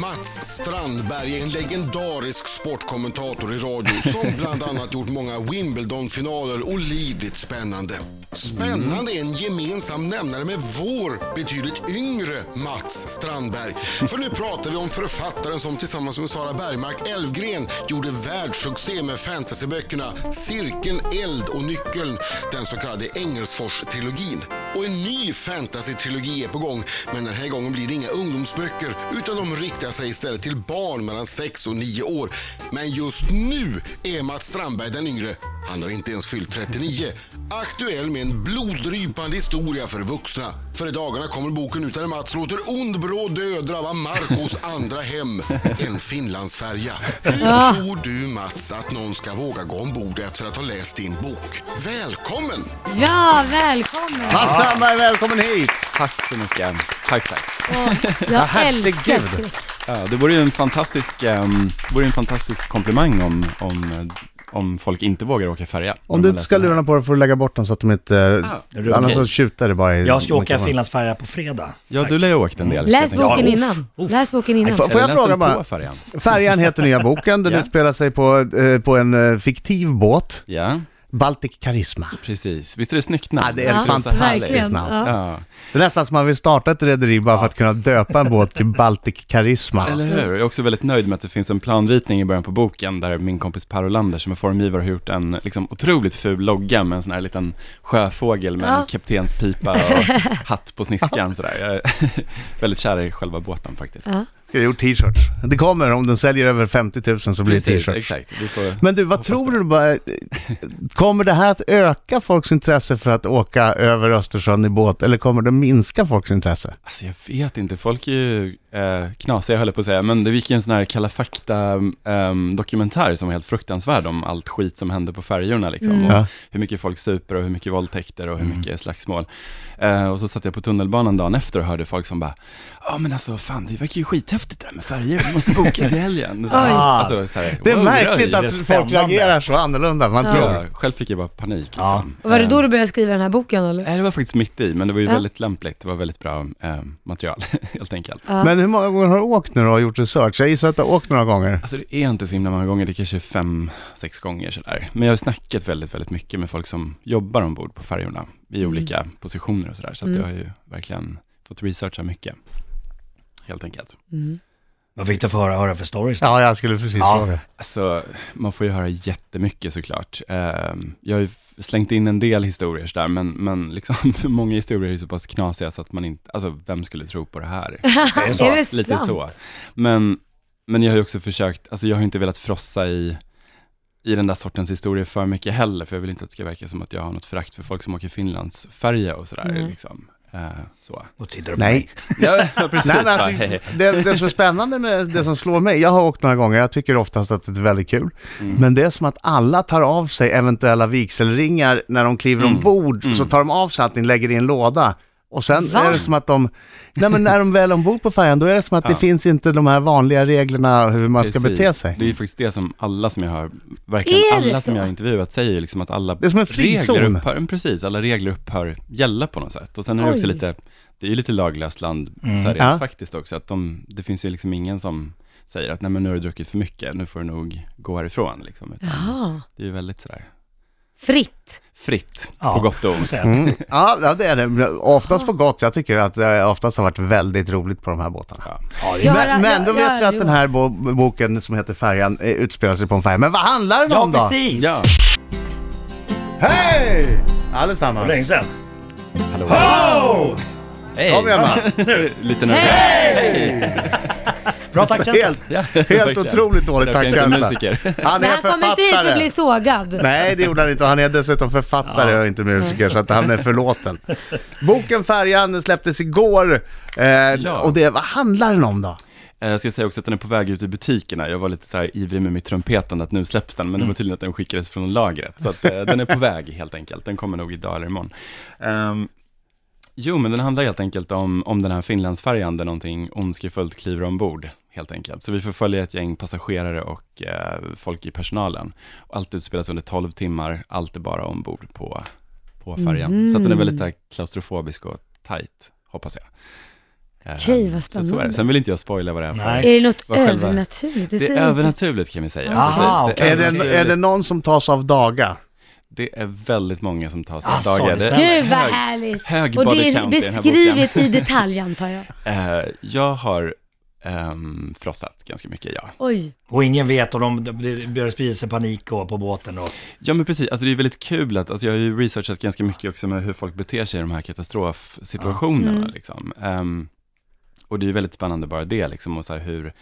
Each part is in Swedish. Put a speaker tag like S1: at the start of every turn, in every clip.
S1: Mats Strandberg är en legendarisk sportkommentator i radio som bland annat gjort många Wimbledon-finaler och lidit spännande. Spännande är en gemensam nämnare med vår betydligt yngre Mats Strandberg. För nu pratar vi om författaren som tillsammans med Sara Bergmark Elfgren gjorde världssuccé med fantasyböckerna Cirkeln, Eld och Nyckeln, den så kallade Engelsfors-trilogin. Och en ny fantasy-trilogi är på gång, men den här gången blir det inga ungdomsböcker utan de riktar sig istället till barn mellan 6 och 9 år. Men just nu är Mats Strandberg den yngre, han har inte ens fyllt 39, aktuell med en bloddrypande historia för vuxna. För i dagarna kommer boken ut där Mats låter ond bråd död drabba Marcos andra hem, en Finlandsfärja. Hur tror du Mats att någon ska våga gå ombord efter att ha läst din bok? Välkommen!
S2: Ja, välkommen!
S3: Mats Strandberg, välkommen hit!
S4: Tack så mycket. Tack, tack.
S2: Och jag älskar
S3: herregud.
S2: skräck.
S4: Ja, det vore ju en fantastisk, um, vore en fantastisk komplimang om, om, eh, om folk inte vågar åka färja.
S3: Om du inte ska lurarna på dig får du lägga bort dem så att de
S4: Ah.
S3: inte... eh,
S5: ruggigt.
S3: annars så tjutar det bara i...
S5: Jag ska åka
S3: kan man-
S5: Finlandsfärja på fredag.
S4: Ja, du lär ju ha åkt en del.
S2: Läs
S4: helt enkelt.
S2: boken
S5: Ja,
S2: innan.
S5: uff.
S2: Läs boken
S3: Nej,
S2: innan.
S3: får- får jag
S4: Eller nästan
S3: fråga bara?
S4: På färjan.
S3: Färjan heter nya boken, den
S4: Ja.
S3: utspelar sig på, eh, på en eh, fiktiv båt.
S4: Ja,
S3: Baltic Karisma.
S4: precis. Visst är det snyggt namn?
S3: Ja, det är
S4: Jag
S3: ett
S4: tycker så härligt.
S2: verkligen.
S3: namn.
S2: Ja.
S4: Ja.
S3: Det är nästan som man vill starta ett rederi bara för att kunna döpa en båt till Baltic Karisma.
S4: Eller hur? Jag är också väldigt nöjd med att det finns en planritning i början på boken där min kompis Per Olander som är formgivare har gjort en liksom, otroligt ful logga med en sån här liten sjöfågel med
S2: Ja.
S4: en kaptenspipa och hatt på sniskan sådär. Jag är väldigt kär i själva båten faktiskt.
S2: Ja.
S3: Ska jag gjort t-shirts. Det kommer, om den säljer över 50 000 så blir det
S4: Precis,
S3: t-shirts.
S4: exakt. Vi får...
S3: Men du, vad
S4: Hoppas på
S3: tror du? Bara, eh, kommer det här att öka folks intresse för att åka över Östersjön i båt eller kommer det minska folks intresse?
S4: Alltså jag vet inte, folk är ju eh, knasiga höll jag på att säga, men det gick ju en sån här Kalla fakta-dokumentär som var helt fruktansvärd om allt skit som hände på färjorna liksom.
S2: Mm.
S4: Och
S3: Ja.
S4: hur mycket folk super och hur mycket våldtäkter och hur mycket slagsmål. Eh, och så satt jag på tunnelbanan dagen efter och hörde folk som bara, ja men alltså fan det verkar ju skithäftigt det där med färjor, vi måste boka till helgen. Så,
S2: Oj.
S4: alltså, så här,
S3: Det är
S4: wow,
S3: märkligt
S4: röj.
S3: att
S5: det
S3: folk
S5: spännande.
S3: reagerar så annorlunda. Man
S2: Ja.
S3: tror.
S4: Ja, själv fick jag bara panik
S5: Ja.
S4: liksom.
S2: Och var det då du började skriva den här boken eller?
S4: Nej, det var faktiskt mitt i, men det var ju
S2: Ja.
S4: väldigt lämpligt. Det var väldigt bra eh, material, helt enkelt.
S2: Ja.
S3: Men hur många gånger har du åkt nu då och gjort research? Jag gissar att du har åkt några gånger.
S4: Alltså det är inte så himla många gånger, det är kanske fem, sex gånger sådär. Men jag har snackat väldigt, väldigt mycket med folk som jobbar ombord på färjorna i olika positioner och sådär. Så att
S2: Mm.
S4: jag har ju verkligen fått researcha mycket, helt enkelt.
S2: Mm.
S5: Vad fick du för höra, höra för stories? då?
S3: Ja, jag skulle precis
S5: Ja.
S3: fråga.
S4: Alltså, man får ju höra jättemycket såklart. Eh, jag har ju f- slängt in en del historier sådär, men, men liksom, många historier är ju så pass knasiga så att man inte, alltså vem skulle tro på det här?
S5: Det är så.
S2: Är det
S4: Lite
S2: sant?
S4: så. Men, men jag har ju också försökt, alltså jag har ju inte velat frossa i, i den där sortens historier för mycket heller, för jag vill inte att det ska verka som att jag har något förakt för folk som åker Finlands färja och sådär.
S2: Nej.
S4: Liksom. Eh, så.
S5: Och tittar du på
S3: Nej.
S5: mig?
S4: Ja, precis.
S3: Nej, men
S4: Bara,
S3: alltså,
S4: hej, hej.
S3: det, det som är spännande med det som slår mig, jag har åkt några gånger, jag tycker oftast att det är väldigt kul. Men det är som att alla tar av sig eventuella vigselringar när de kliver ombord, så tar de av sig allting, lägger i en låda. Och sen
S2: Va?
S3: är det som att de, nej men när de väl är ombord på färjan, då är det som att det
S4: Ja.
S3: finns inte de här vanliga reglerna hur man ska
S4: Precis.
S3: bete sig.
S4: Det är ju faktiskt det som alla som jag har, verkligen
S2: Är det
S4: alla som
S2: så?
S4: jag har intervjuat säger ju liksom att alla
S3: Det är som en frizon.
S4: regler upphör, men precis, alla regler upphör gälla på något sätt. Och sen är det också
S2: Oj.
S4: lite, det är ju lite laglöst land, så här
S3: Mm. Ja.
S4: ja. faktiskt också, att de, det finns ju liksom ingen som säger att nej men nu har du druckit för mycket, nu får du nog gå härifrån liksom. Utan
S2: Jaha.
S4: Det är ju väldigt sådär
S2: Fritt.
S4: fritt,
S5: Ja.
S4: på gott och ont.
S5: Så här,
S3: Mm. Ja, ja, det är det. Oftast på gott. Jag tycker att det oftast har varit väldigt roligt på de här båtarna.
S4: Ja.
S5: Ja, det
S2: Jag
S5: är...
S2: har-
S3: Men, men då
S2: jag- jag
S3: vet vi
S2: har
S3: att den här bo boken som heter Färjan eh, utspelar sig på en färja. Men vad handlar den
S5: ja,
S3: om då?
S5: precis!
S4: Ja,
S5: Ja.
S3: Hej!
S5: Hur
S3: Allesammans.
S5: länge sedan?
S4: hallå.
S5: Oh!
S4: Hej!
S3: Kom igen Mats.
S4: Lite nervös.
S5: Bra taktkänsla.
S3: Helt,
S4: Ja,
S3: helt
S4: verkligen.
S3: otroligt dålig
S4: Därför är jag inte
S3: taktkänsla.
S4: musiker.
S3: Han
S2: Men
S3: är
S2: han kommer inte hit och blir
S3: författare.
S2: sågad.
S3: Nej, det gjorde han inte. Och Han är dessutom författare och inte musiker, så att han är förlåten. Boken Färjan släpptes igår. Eh, Och det, vad handlar den om då?
S4: Eh, Jag ska säga också att den är på väg ut i butikerna. Jag var lite så här ivrig med mitt trumpetande att nu släpps den, men
S2: Mm.
S4: det var tydligen att den skickades från lagret. Så att, eh, den är på väg helt enkelt. Den kommer nog idag eller imorgon. Ehm, jo, men den handlar helt enkelt om, om den här Finlandsfärjan där någonting ondskefullt kliver ombord. Helt enkelt. Så vi får följa ett gäng passagerare och eh, folk i personalen. Och Allt utspelas under 12 timmar, allt är bara ombord på,
S2: Mm.
S4: på färjan. Så att den är väldigt så här, klaustrofobisk och tajt, hoppas jag. Eh,
S2: Okej, vad
S4: så- så är det.
S2: spännande.
S4: Sen vill inte jag spoila vad det är för.
S5: Nej.
S2: Är det något
S4: Vad själva-
S2: övernaturligt?
S4: Det
S2: säger
S4: är
S2: jag inte.
S4: övernaturligt kan vi säga.
S5: Aha,
S4: Precis,
S5: okej.
S3: Är det, är det någon som tas av daga?
S4: det är väldigt många som tar sig
S5: Ah,
S4: dagar.
S5: sorry,
S4: Det är
S2: Gud vad
S4: hög-
S2: härligt!
S4: Hög
S2: Och
S4: body
S2: det är
S4: count i den här
S2: beskrivet i detalj antar jag.
S4: boken. Eh, jag har ehm, frossat ganska mycket, ja.
S2: Oj,
S5: Och ingen vet om de, det börjar sprida sig panik och på båten och...
S4: Ja men precis, alltså det är väldigt kul att, alltså jag har ju researchat ganska mycket också med hur folk beter sig i de här katastrofsituationerna
S2: Mm.
S4: liksom. Ehm, och det är ju väldigt spännande bara det liksom, och så här hur,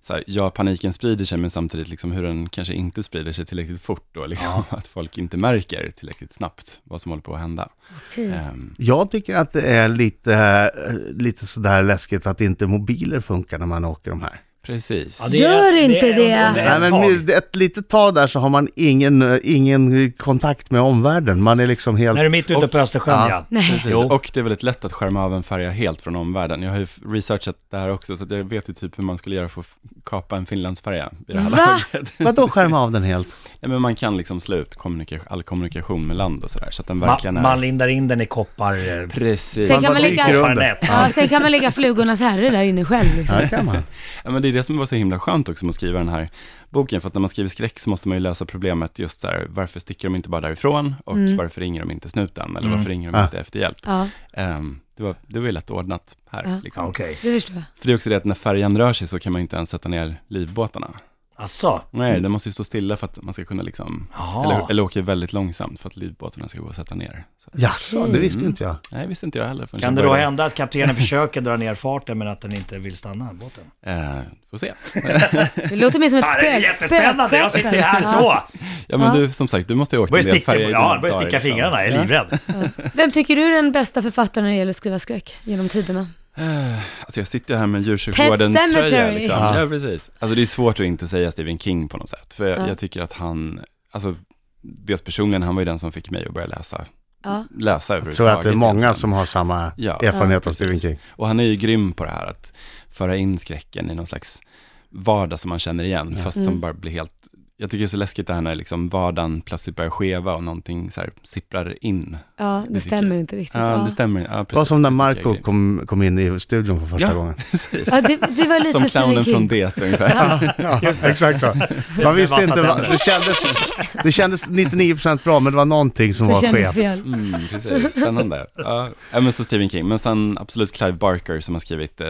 S4: så här, ja paniken sprider sig men samtidigt liksom hur den kanske inte sprider sig tillräckligt fort då, liksom, att folk inte märker tillräckligt snabbt vad som håller på att hända.
S2: okej.
S5: Mm.
S4: Ehm,
S3: Jag tycker att det är lite, eh, lite sådär läskigt att inte mobiler funkar när man åker de här.
S4: precis.
S5: Ja, det
S2: Gör inte det.
S5: är- om är
S3: Nej,
S5: ett
S3: men
S5: tag.
S3: med ett litet tag där så har man ingen, eh, ingen kontakt med omvärlden. Man är liksom helt...
S5: När du är mitt ute på Östersjön, ja.
S3: Ja.
S2: Nej.
S4: Precis.
S5: Jo.
S4: Och det är väldigt lätt att skärma av en färja helt från omvärlden. Jag har ju researchat det här också, så att jag vet ju typ hur man skulle göra för att kapa en Finlandsfärja i det här
S2: Va?
S4: laget.
S3: Vadå skärma av den helt?
S4: Ja, men man kan liksom slå ut kommunika- all kommunikation med land och sådär, så att den
S5: Ma-
S4: verkligen är...
S5: man lindar in den i koppar... eh,
S2: Sen
S4: Precis.
S2: kan
S3: bara
S2: man lägga-
S3: dyker under.
S5: kopparnät.
S2: Ja, sen kan man lägga flugornas herre där inne själv liksom.
S3: Ja, kan man.
S4: Ja, men det är det som var så himla skönt också med att skriva den här boken, för att när man skriver skräck så måste man ju lösa problemet just så här, varför sticker de inte bara därifrån och varför ringer de inte snuten
S5: Mm.
S4: eller varför ringer de
S3: Ah.
S4: inte efter hjälp?
S2: Ja,
S4: Ehm, det, var, det var ju lätt ordnat här.
S2: Ja.
S4: Liksom.
S5: Ja, Ah, Okej.
S2: det förstår jag.
S4: För det är också det att när färjan rör sig så kan man ju inte ens sätta ner livbåtarna.
S5: Asså?
S4: Nej, den måste ju stå stilla för att man ska kunna liksom,
S5: Jaha.
S4: eller, eller åker väldigt långsamt för att livbåtarna ska gå att sätta ner. Så,
S3: Jaså, det visste inte jag.
S4: nej, visste inte jag heller. förrän
S5: Kan
S4: jag
S5: det då
S4: började.
S5: hända att kaptenen försöker dra ner farten men att den inte vill stanna båten?
S4: Eh, får se.
S2: Det låter mer som ett
S5: Fan, det är
S2: spök.
S5: jättespännande! Jag sitter ju här
S2: spökskepp.
S5: så!
S4: Ja men
S2: Ja.
S4: du, som sagt, du måste ju ha åkt
S5: Börjar
S4: en del
S5: sticka,
S4: färger i
S5: ja,
S4: dina
S5: börjar
S4: dagar,
S5: sticka
S4: liksom.
S5: fingrarna, jag är livrädd.
S2: Ja. Vem tycker du är den bästa författaren när det gäller att skriva skräck genom tiderna?
S4: Alltså jag sitter här med en djursjukvården-tröja
S2: Cemetery.
S4: liksom.
S3: Ja.
S4: Ja. precis. Alltså det är svårt att inte säga Stephen King på något sätt. För jag,
S2: Ja.
S4: jag tycker att han, alltså dels personligen, han var ju den som fick mig att börja läsa,
S2: Ja.
S4: läsa
S3: Jag tror att det är många
S4: egentligen.
S3: som har samma
S4: Ja,
S3: erfarenhet av
S4: precis.
S3: Stephen King.
S4: Och han är ju grym på det här att föra in skräcken i någon slags vardag som man känner igen, fast som
S2: Mm.
S4: bara blir helt... Jag tycker det är så läskigt det här när liksom vardagen plötsligt börjar skeva och någonting så här sipprar in.
S2: Ja, det
S4: Det tycker
S2: stämmer
S4: jag.
S2: inte riktigt.
S4: Ja,
S2: Ja.
S4: det stämmer. Ja, precis.
S3: Det var som när
S4: Det tycker jag är
S3: Marco
S4: grymt.
S3: kom, kom in i studion för första
S4: Ja.
S3: gången.
S2: Ja, det, det var lite
S4: Som clownen
S2: Stephen King.
S4: från det ungefär.
S3: Ja, exakt så. Man visste
S5: vassa
S3: inte, vad-
S5: tänder.
S3: det kändes, det kändes 99% bra, men det var någonting som
S2: Så
S3: var
S2: kändes
S3: skevt.
S2: fel.
S4: Mm, precis. Spännande. Ja, Ja, men så Stephen King. Men sen absolut Clive Barker som har skrivit eh,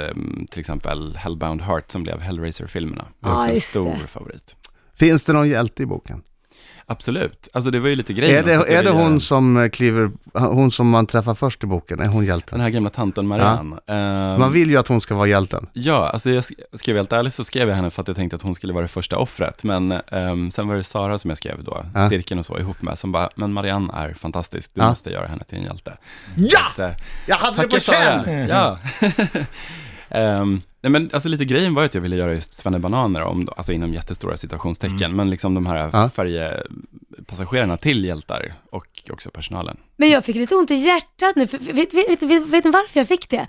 S4: till exempel Hellbound Heart som blev Hellraiser-filmerna. Det är
S2: Ja,
S4: också en
S2: just
S4: stor
S2: det.
S4: favorit.
S3: Finns det någon hjälte i boken?
S4: Absolut. Alltså det var ju lite grejer.
S3: Är det, är det hon som eh, kliver, hon som man träffar först i boken, är hon
S4: Den
S3: hjälten?
S4: här gamla tanten Marianne. Ehm,
S3: Man vill ju att hon ska vara hjälten.
S4: Ja, alltså jag sk- ska jag vara helt ärlig så skrev jag henne för att jag tänkte att hon skulle vara det första offret. Men ehm, sen var det Sara som jag skrev då,
S3: Ja.
S4: cirkeln och så ihop med, som bara, men Marianne är fantastisk, du
S3: Ja.
S4: måste göra henne till en hjälte.
S3: Ja!
S4: Så att, eh,
S3: Jag hade det på
S4: Tackar
S3: känn!
S4: Sara! Ja. Ehm, nej men alltså lite grejen var ju att jag ville göra just svennebananer, om, alltså inom jättestora citationstecken,
S3: Mm.
S4: men liksom de här
S3: Ja.
S4: färjepassagerarna till hjältar och också personalen.
S2: Men jag fick lite ont i hjärtat nu, för vet, vet, vet, vet ni varför jag fick det?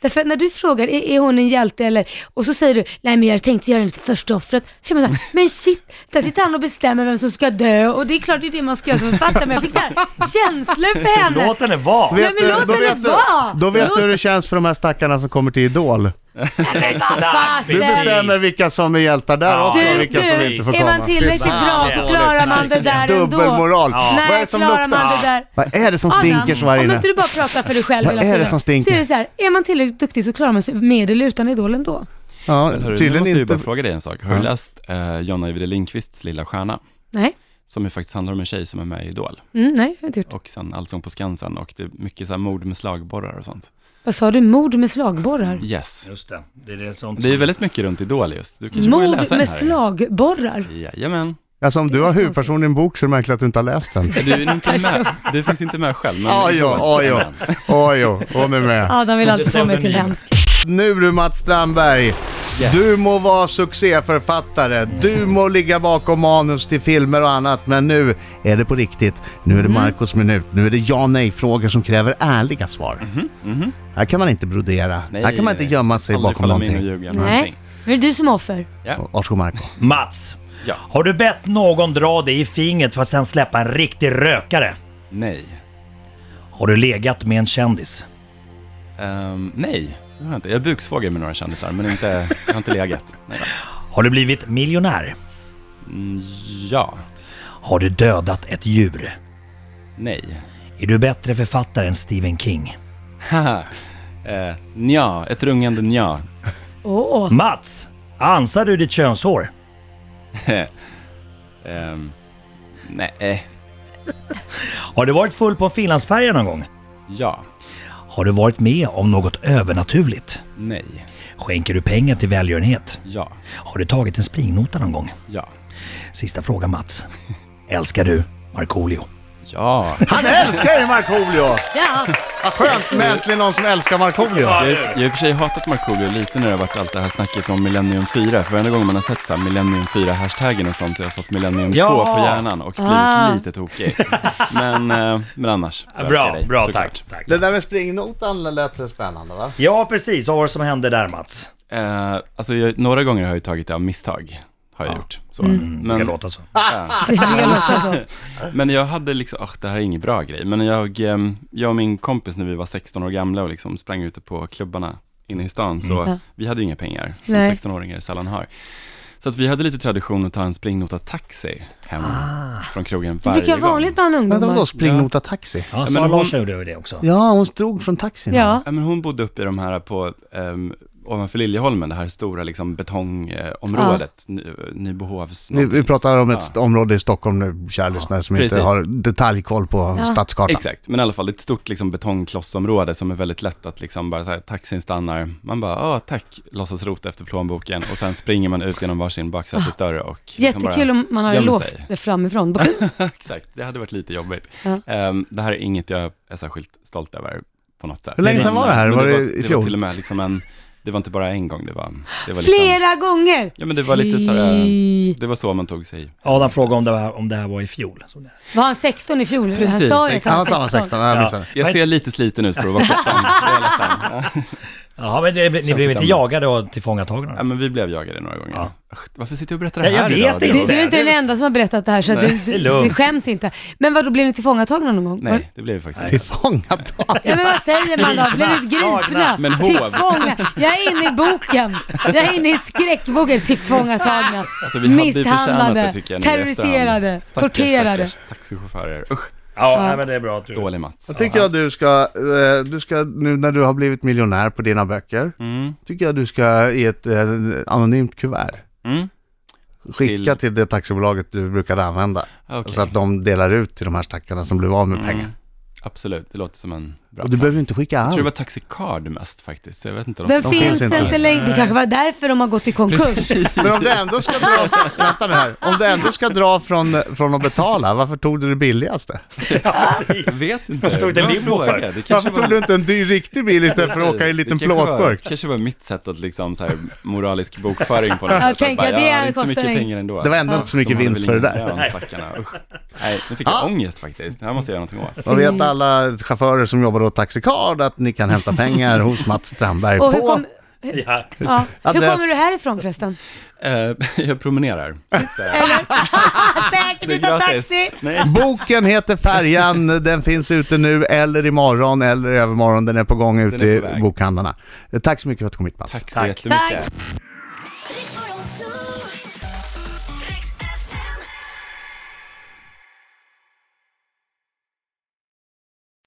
S2: Därför att när du frågar, är, är hon en hjälte eller? Och så säger du, nej men jag tänkte göra henne till första offret. Så känner man såhär, men shit, där sitter han och bestämmer vem som ska dö och det är klart det är det man ska göra som författare, men jag fick såhär känslor för henne.
S5: Låt henne vara!
S2: Nej, men
S3: du-
S2: låt
S3: då,
S2: henne
S3: vet du,
S2: vara!
S3: då vet
S2: Låt-
S3: du hur det känns för de här stackarna som kommer till Idol.
S2: Nej, men vad
S3: Du
S5: Precis.
S2: fasen!
S3: bestämmer vilka som är hjältar där
S5: Ja.
S3: också,
S2: Du,
S5: alltså
S2: du,
S3: vilka som inte får
S2: är man
S3: komma.
S2: tillräckligt
S5: Fy fan,
S2: bra så
S5: det är
S2: klarar
S5: dåligt.
S2: man det där ändå.
S3: Dubbelmoral.
S5: Ja.
S3: Vad är
S2: Nej,
S3: det som
S2: klarar man
S3: luktar?
S2: det där.
S3: Vad är det som
S2: Adam,
S3: stinker så här
S2: Om
S3: inne?
S2: inte du bara pratar för dig själv
S3: Vad
S2: hela
S3: är det
S2: tiden,
S3: som stinker?
S2: Så är det så här, är man tillräckligt duktig så klarar man sig med eller utan Idol ändå.
S3: Ja,
S4: Men hörru, nu
S3: tydligen
S4: måste jag ju bara
S3: inte.
S4: fråga dig en sak. Har du
S3: Ja.
S4: läst eh, Jonna Ivide Lindqvists Lilla Stjärna?
S2: Nej,
S4: Som ju faktiskt handlar om en tjej som är med i Idol.
S2: mm, nej, jag har inte gjort.
S4: Och sen Allsång på Skansen och det är mycket så här mord med slagborrar och sånt.
S2: Vad sa du? Mord med
S4: Mm.
S2: slagborrar?
S3: Mm.
S4: Yes.
S5: Just det, det är det sånt
S4: Det är väldigt mycket runt Idol just. Du kanske borde
S2: Mord
S4: läsa
S2: med
S4: den här.
S2: slagborrar?
S4: Jajamän.
S3: Alltså om du har huvudperson i en bok så är det märkligt att du inte har läst den.
S4: Ja, Du är, nog inte med. du är faktiskt inte med själv. Men
S3: Aj,
S4: Idol,
S3: aj, aj.
S4: jajamän.
S3: Oj, jo, hon är med.
S2: Adam vill alltid få mig till
S5: Pseudonym.
S2: hemsk.
S3: Nu du Mats Strandberg, du må vara succéförfattare, du må ligga bakom manus till filmer och annat, men nu är det på riktigt. Nu är det Marcos minut, nu är det ja nej-frågor som kräver ärliga svar. Här kan man inte brodera,
S4: Nej,
S3: här kan man inte
S4: nej.
S3: gömma sig
S4: Aldrig
S3: bakom
S4: falla mig in och
S3: någonting.
S4: ljuga om
S2: Nej,
S4: någonting.
S2: nu är det du som är offer.
S3: Varsågod Marco.
S5: Mats,
S4: Ja.
S5: har du bett någon dra dig i fingret för att sen släppa en riktig rökare?
S4: Nej.
S5: Har du legat med en kändis?
S4: Ehm, nej. Det har jag inte. Jag buksvågar med några kändisar, men inte, jag har inte legat. Nej,
S5: Har du blivit miljonär?
S4: Mm, ja.
S5: Har du dödat ett djur?
S4: Nej.
S5: Är du bättre författare än Stephen King?
S4: Haha. eh, nja, ett rungande nja.
S2: Åh, åh.
S5: Mats! Ansar du ditt könshår?
S4: Ehm, nej. Eh,
S5: Har du varit full på en Finlandsfärja någon gång?
S4: Ja.
S5: Har du varit med om något övernaturligt?
S4: Nej.
S5: Skänker du pengar till välgörenhet?
S4: Ja.
S5: Har du tagit en springnota någon gång?
S4: Ja.
S5: Sista fråga Mats. Älskar du Markoolio?
S4: Ja.
S3: Han älskar ju Markoolio!
S2: Ja,
S3: Vad skönt med äntligen någon som älskar Markoolio.
S4: Jag har jag har i och för sig hatat Markoolio lite när det har varit allt det här snacket om Millennium 4, för varenda gång man har sett så här Millennium 4-hashtaggen och sånt så har jag fått Millennium 2
S5: Ja.
S4: på hjärnan och blivit
S2: Ah.
S4: lite tokig. Men, eh, men annars, så älskar jag dig, såklart.
S5: tack.
S3: Det där med springnotan lät väl spännande va?
S5: Ja, precis. Vad var det som hände där Mats?
S4: Eh, alltså, jag, några gånger har jag ju tagit det av misstag. Har jag gjort. Så.
S5: Men...
S4: Men,
S5: låta så.
S2: det låter så.
S4: men jag hade liksom, åh, det här är ingen bra grej, men jag, ehm, jag och min kompis när vi var 16 år gamla och liksom sprang ute på klubbarna inne i stan, så
S2: Ja.
S4: vi hade ju inga pengar, som
S2: Mm. Nej.
S4: 16-åringar sällan har. Så att vi hade lite tradition att ta en springnota taxi hem från krogen
S2: Ah. Det
S4: varje
S2: brukar vara
S4: gång.
S2: vanligt bland
S3: Vänta
S2: ungdomar.
S3: vadå, springnota taxi?
S5: Ja,
S4: Sara
S5: Sara
S4: hon-
S5: Larsson gjorde ju det också.
S3: Ja, hon drog från taxin.
S2: Ja.
S4: Ja, men hon bodde uppe i de här på, um, ovanför Liljeholmen, det här stora liksom, betongområdet,
S2: Ah.
S4: Ny, Nybohovs.
S3: Nu, vi pratar om ett område i Stockholm nu, kära lyssnare, som inte
S4: precis.
S3: har detaljkoll på
S2: Ja.
S3: stadskartan.
S4: Exakt, men i alla fall det är ett stort liksom, betongklossområde som är väldigt lätt att liksom bara så här, taxin stannar, man bara, ja tack, låtsas rota efter plånboken och sen springer man ut genom varsin baksätesdörr och liksom bara-
S2: Ah, Jättekul om man har
S4: gömmer
S2: låst
S4: sig.
S2: det framifrån.
S4: Exakt, det hade varit lite jobbigt.
S2: Ja.
S4: Ehm, det här är inget jag är särskilt stolt över på något sätt.
S3: Hur länge sedan var det här?
S4: Men
S3: Var det i
S4: det var
S3: fjol?
S4: till och med liksom en, det var inte bara en gång, det var, det var liksom,
S2: Flera gånger!
S4: ja men det var lite så här, eh, det var så man tog sig
S5: Adam frågade om det, var, om det här var i fjol. Så det-
S2: Var han 16 i fjol? Han
S4: Precis,
S2: sa ju att
S3: Ja, han
S2: han
S3: sa
S2: var
S3: 16,
S2: 16.
S3: jag
S5: Ja.
S3: missade.
S4: Jag
S5: Men-
S4: ser lite sliten ut för att vara 17, jag är ledsen. Ja.
S5: Ja, men det, ni blev
S4: lite
S5: inte
S4: annorlunda.
S5: jagade och tillfångatagna?
S4: Ja, men vi blev jagade några gånger.
S5: Ja.
S4: Usch, Varför sitter jag och berättar det
S5: Nej, jag
S4: här
S5: vet
S4: idag? Det-
S5: inte.
S2: Du, du är inte
S5: Det-
S2: den enda som har berättat det här så
S4: Nej,
S2: du,
S5: det är
S2: du,
S5: lugnt.
S2: du skäms inte. Men vadå, blev ni tillfångatagna någon gång?
S4: Nej, det blev vi faktiskt inte.
S3: Tillfångatagen.
S2: Ja men vad säger man då? Blev ni gripna?
S4: Men hov.
S2: Tillfånga. Jag är inne i boken. Jag är inne i skräckboken. Tillfångatagna.
S4: Alltså, vi hade ju förtjänat
S2: Misshandlade.
S4: det, tycker jag, nu i
S2: terroriserade.
S4: efterhand. Stackars,
S2: Torterade.
S4: stackars Taxichaufförer. Usch,
S5: Ja,
S2: Ja.
S5: nej, men det är bra att du...
S4: dålig Mats.
S3: Jag tycker jag du ska, eh, du ska, nu när du har blivit miljonär på dina böcker,
S4: Mm,
S3: tycker jag du ska i ett eh, anonymt kuvert
S4: mm,
S3: skicka till, det taxibolaget du brukade använda.
S4: okej.
S3: Så Alltså, att de delar ut till de här stackarna som blev av med pengar.
S4: Mm, absolut, det låter som en bra
S3: Och du
S4: plan.
S3: behöver ju inte skicka
S4: Jag tror det var
S3: allt.
S4: Taxicard mest faktiskt, så jag vet inte. om-
S2: Den
S3: De
S2: finns
S3: finns inte
S2: inte
S3: längre.
S2: längre. Det kanske var därför de har gått i konkurs.
S3: Men om du ändå ska dra, vänta nu här, om du ändå ska dra från, från att betala, varför tog du det billigaste?
S5: Ja, precis.
S4: Jag vet inte.
S5: Varför tog det
S4: Det var en
S5: limbo
S4: fråga.
S5: för?
S4: Det kanske
S3: Varför
S4: var-
S3: tog du inte en dyr riktig bil istället för att åka i en liten
S4: Det kanske Var,
S3: plåtburk?
S4: kanske var mitt sätt att liksom så här moralisk bokföring på något
S2: Jag
S4: sätt.
S2: tänker,
S4: Bara,
S2: det
S4: ja, är inte
S2: kostar
S4: så mycket
S2: en-
S4: pengar ändå.
S3: Det var ändå inte så mycket
S4: De hade
S3: vinst för
S4: väl
S3: det
S4: ingen
S3: där. Ah.
S4: lön, stackarna. Usch. Nej, nu fick jag
S3: Ja.
S4: ångest faktiskt. Det här måste jag göra någonting åt.
S3: Vad vet alla chaufförer som jobbar åt Taxicard att ni kan hämta pengar hos Mats Strandberg
S2: Och hur,
S3: på...
S2: kom,
S5: Ja.
S2: ja. hur
S3: Adress.
S2: kommer du härifrån förresten?
S4: Eh, jag promenerar. Så att, eh,
S2: Säkert du tar taxi!
S4: Nej.
S3: Boken heter Färjan, den finns ute nu eller imorgon eller i övermorgon, den är på gång ute
S4: är
S3: i
S4: på väg.
S3: bokhandlarna. Eh, Tack så mycket för att du kom hit Mats.
S4: Tack så
S5: Tack.
S4: jättemycket.
S2: Tack.